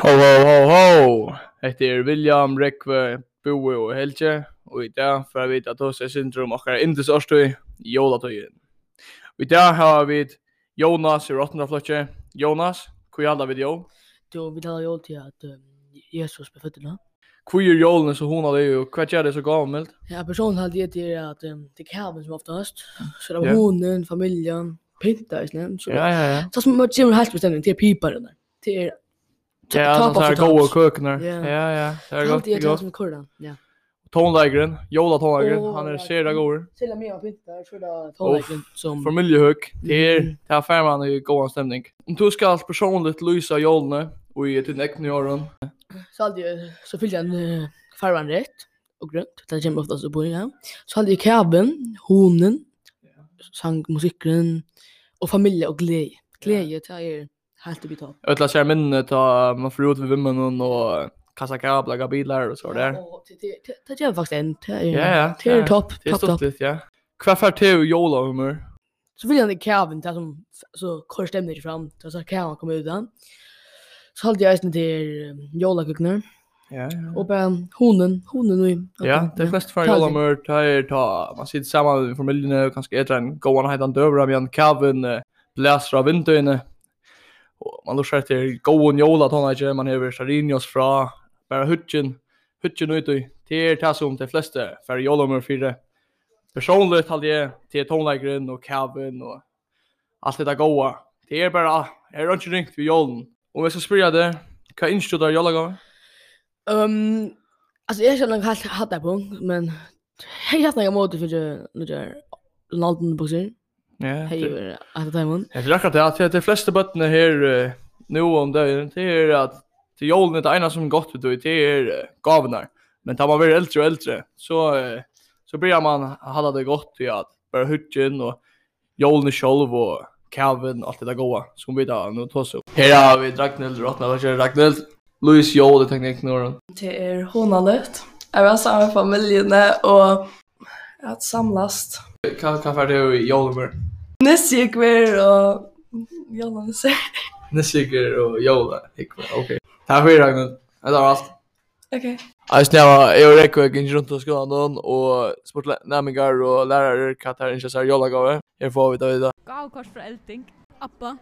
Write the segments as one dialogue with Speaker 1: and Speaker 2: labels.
Speaker 1: Ho, ho, ho, ho! Hette er William, Rekve, Bue og Helge, og i dag får vi vite at hos er syndrom og er indes årstøy, jolatøyen. Og i dag har vi Jonas i Rottendaflotje. Jonas, hvor gjalda vi jo?
Speaker 2: Jo, vi talar ju alltid att um, Jesus blev fötterna.
Speaker 1: Hvor er jolene så hon hadde jo, hva gjør det så gammelt?
Speaker 2: Ja, personen hade gett det att um, det är kalven som oftast. Så det var
Speaker 1: Ja.
Speaker 2: honen, familjen, pinta i snön. Så
Speaker 1: Ja, ja, ja.
Speaker 2: Så som man kommer helt bestämning, det är piparen där. Det är
Speaker 1: Det er sånn her gode køkner.
Speaker 2: Ja.
Speaker 1: Ja, ja, det er godt,
Speaker 2: alltid
Speaker 1: det er
Speaker 2: jag tar
Speaker 1: godt.
Speaker 2: som kurran. Ja.
Speaker 1: Tonleikeren, jolatonleikeren,
Speaker 2: Åh,
Speaker 1: han er
Speaker 2: ja.
Speaker 1: sere god.
Speaker 2: Silla mig och pinta, så det tonlägen som...
Speaker 1: Familjehøk, Mm. det er,
Speaker 2: Mhm.
Speaker 1: det er færman i god stemning. Om du skal personligt lysa jolene, og i din ekne jorden,
Speaker 2: Så hade jag, så fyllde jag en uh, farvan rätt och grönt. Det kommer oftast att bo i ja. Så hade jag kalven, honen, sang musikken och familj och glädje. Glädje, det är helt uppe i topp.
Speaker 1: Ötla kär minne ta man får ut vid vimmen och kassa kablar, ga bilar och så där.
Speaker 2: och det- det- det- Det gör faktiskt en. Det är
Speaker 1: Ja, ja,
Speaker 2: Det
Speaker 1: ja.
Speaker 2: är topp,
Speaker 1: Det är
Speaker 2: topp, topp.
Speaker 1: stort lite, ja. Kvar för te jola humor.
Speaker 2: Så vill jag inte Kevin ta som så kör stämmer det fram. Så så Kevin kommer ut den. Så hade jag istället till jolakuknar
Speaker 1: Ja,
Speaker 2: och bara honen, honen nu.
Speaker 1: Ja, det är flest för jola humor ta er ta man sitter samman med familjen och kanske äter en goan heitan dövra med en kaven eh, bläser av vindöjne. Och man lurar till goan jola tonage man över Sarinios fra bara hutchen hutchen ut i det är tas som de flesta för jola humor för det. Personligt hade jag till tonläggaren och kaven och allt det där goa. Det är er bara, jag har inte ringt vid jolen. Om jag ska spyrja det, hva innstod du av jolagave?
Speaker 2: Ehm alltså jag känner helt hade på men hej jag snackar mot för det nu där London boxer.
Speaker 1: Ja,
Speaker 2: Hej
Speaker 1: det
Speaker 2: över att ta imon.
Speaker 1: det är akkurat det, att de flesta bötterna här eh, nu om døgnet, det er är att till jolen är det ena som gott vet du, det är eh, gavenar. Men tar man blir äldre och äldre så, eh, så börjar man hade det gott i att bara hutchen och jolen själv och kaven och allt det där goa som vi tar nu tar så. Här har vi Ragnhild Rottna, vad kör Ragnhild? Louise Joel i tekniknoren.
Speaker 3: Det er honanøtt. Jeg var sammen med familiene og at samlast.
Speaker 1: Kan kan för det er i Jolmer.
Speaker 3: Nisse gikk ver og Jonna Nisse.
Speaker 1: Nessiger och Jola. Okej. Tack för Ragnhild. Det er var allt.
Speaker 3: Ok.
Speaker 1: Jeg snäva, jag och Rekko gick runt och skolan någon och sport nämningar och lärare kattar inte så här jolla gav. Jag får vita vidare.
Speaker 4: Gavkort fra Elting. Appa.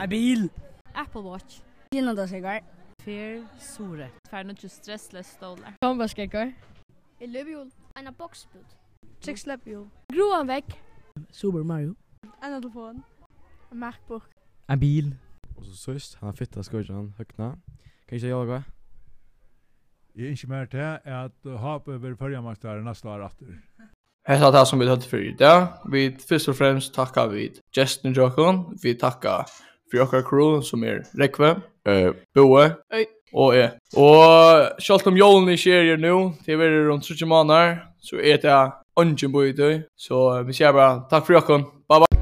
Speaker 5: Ein bil.
Speaker 4: Apple Watch.
Speaker 6: Kinnadaseggar.
Speaker 4: Fer Sore. Fer noe stressless stålar.
Speaker 6: Kombaskeggar.
Speaker 7: En løvehjul. En boksbud.
Speaker 6: Seks slepphjul.
Speaker 7: Groen vekk.
Speaker 2: Super Mario.
Speaker 4: En telefon.
Speaker 7: En MacBook.
Speaker 5: Ein bil.
Speaker 8: Og så sist, han har fitta skojjan høgna. Kan ikke jeg gå?
Speaker 9: Jeg ønsker mer til at Hape vil følge meg der neste år etter.
Speaker 1: Hetta er det som vi hadde för idag. Vi först och främst tackar vi Justin Jokon. Vi tackar för Jokka crew er som är Rekve,
Speaker 8: Eh,
Speaker 1: Boe
Speaker 2: Oi.
Speaker 1: och jag. Och självt om jolen i serier nu, det är väl runt eh, 30 månader, så är det ungen på i dag. Så vi säger bara tack för Jokon. Bye bye.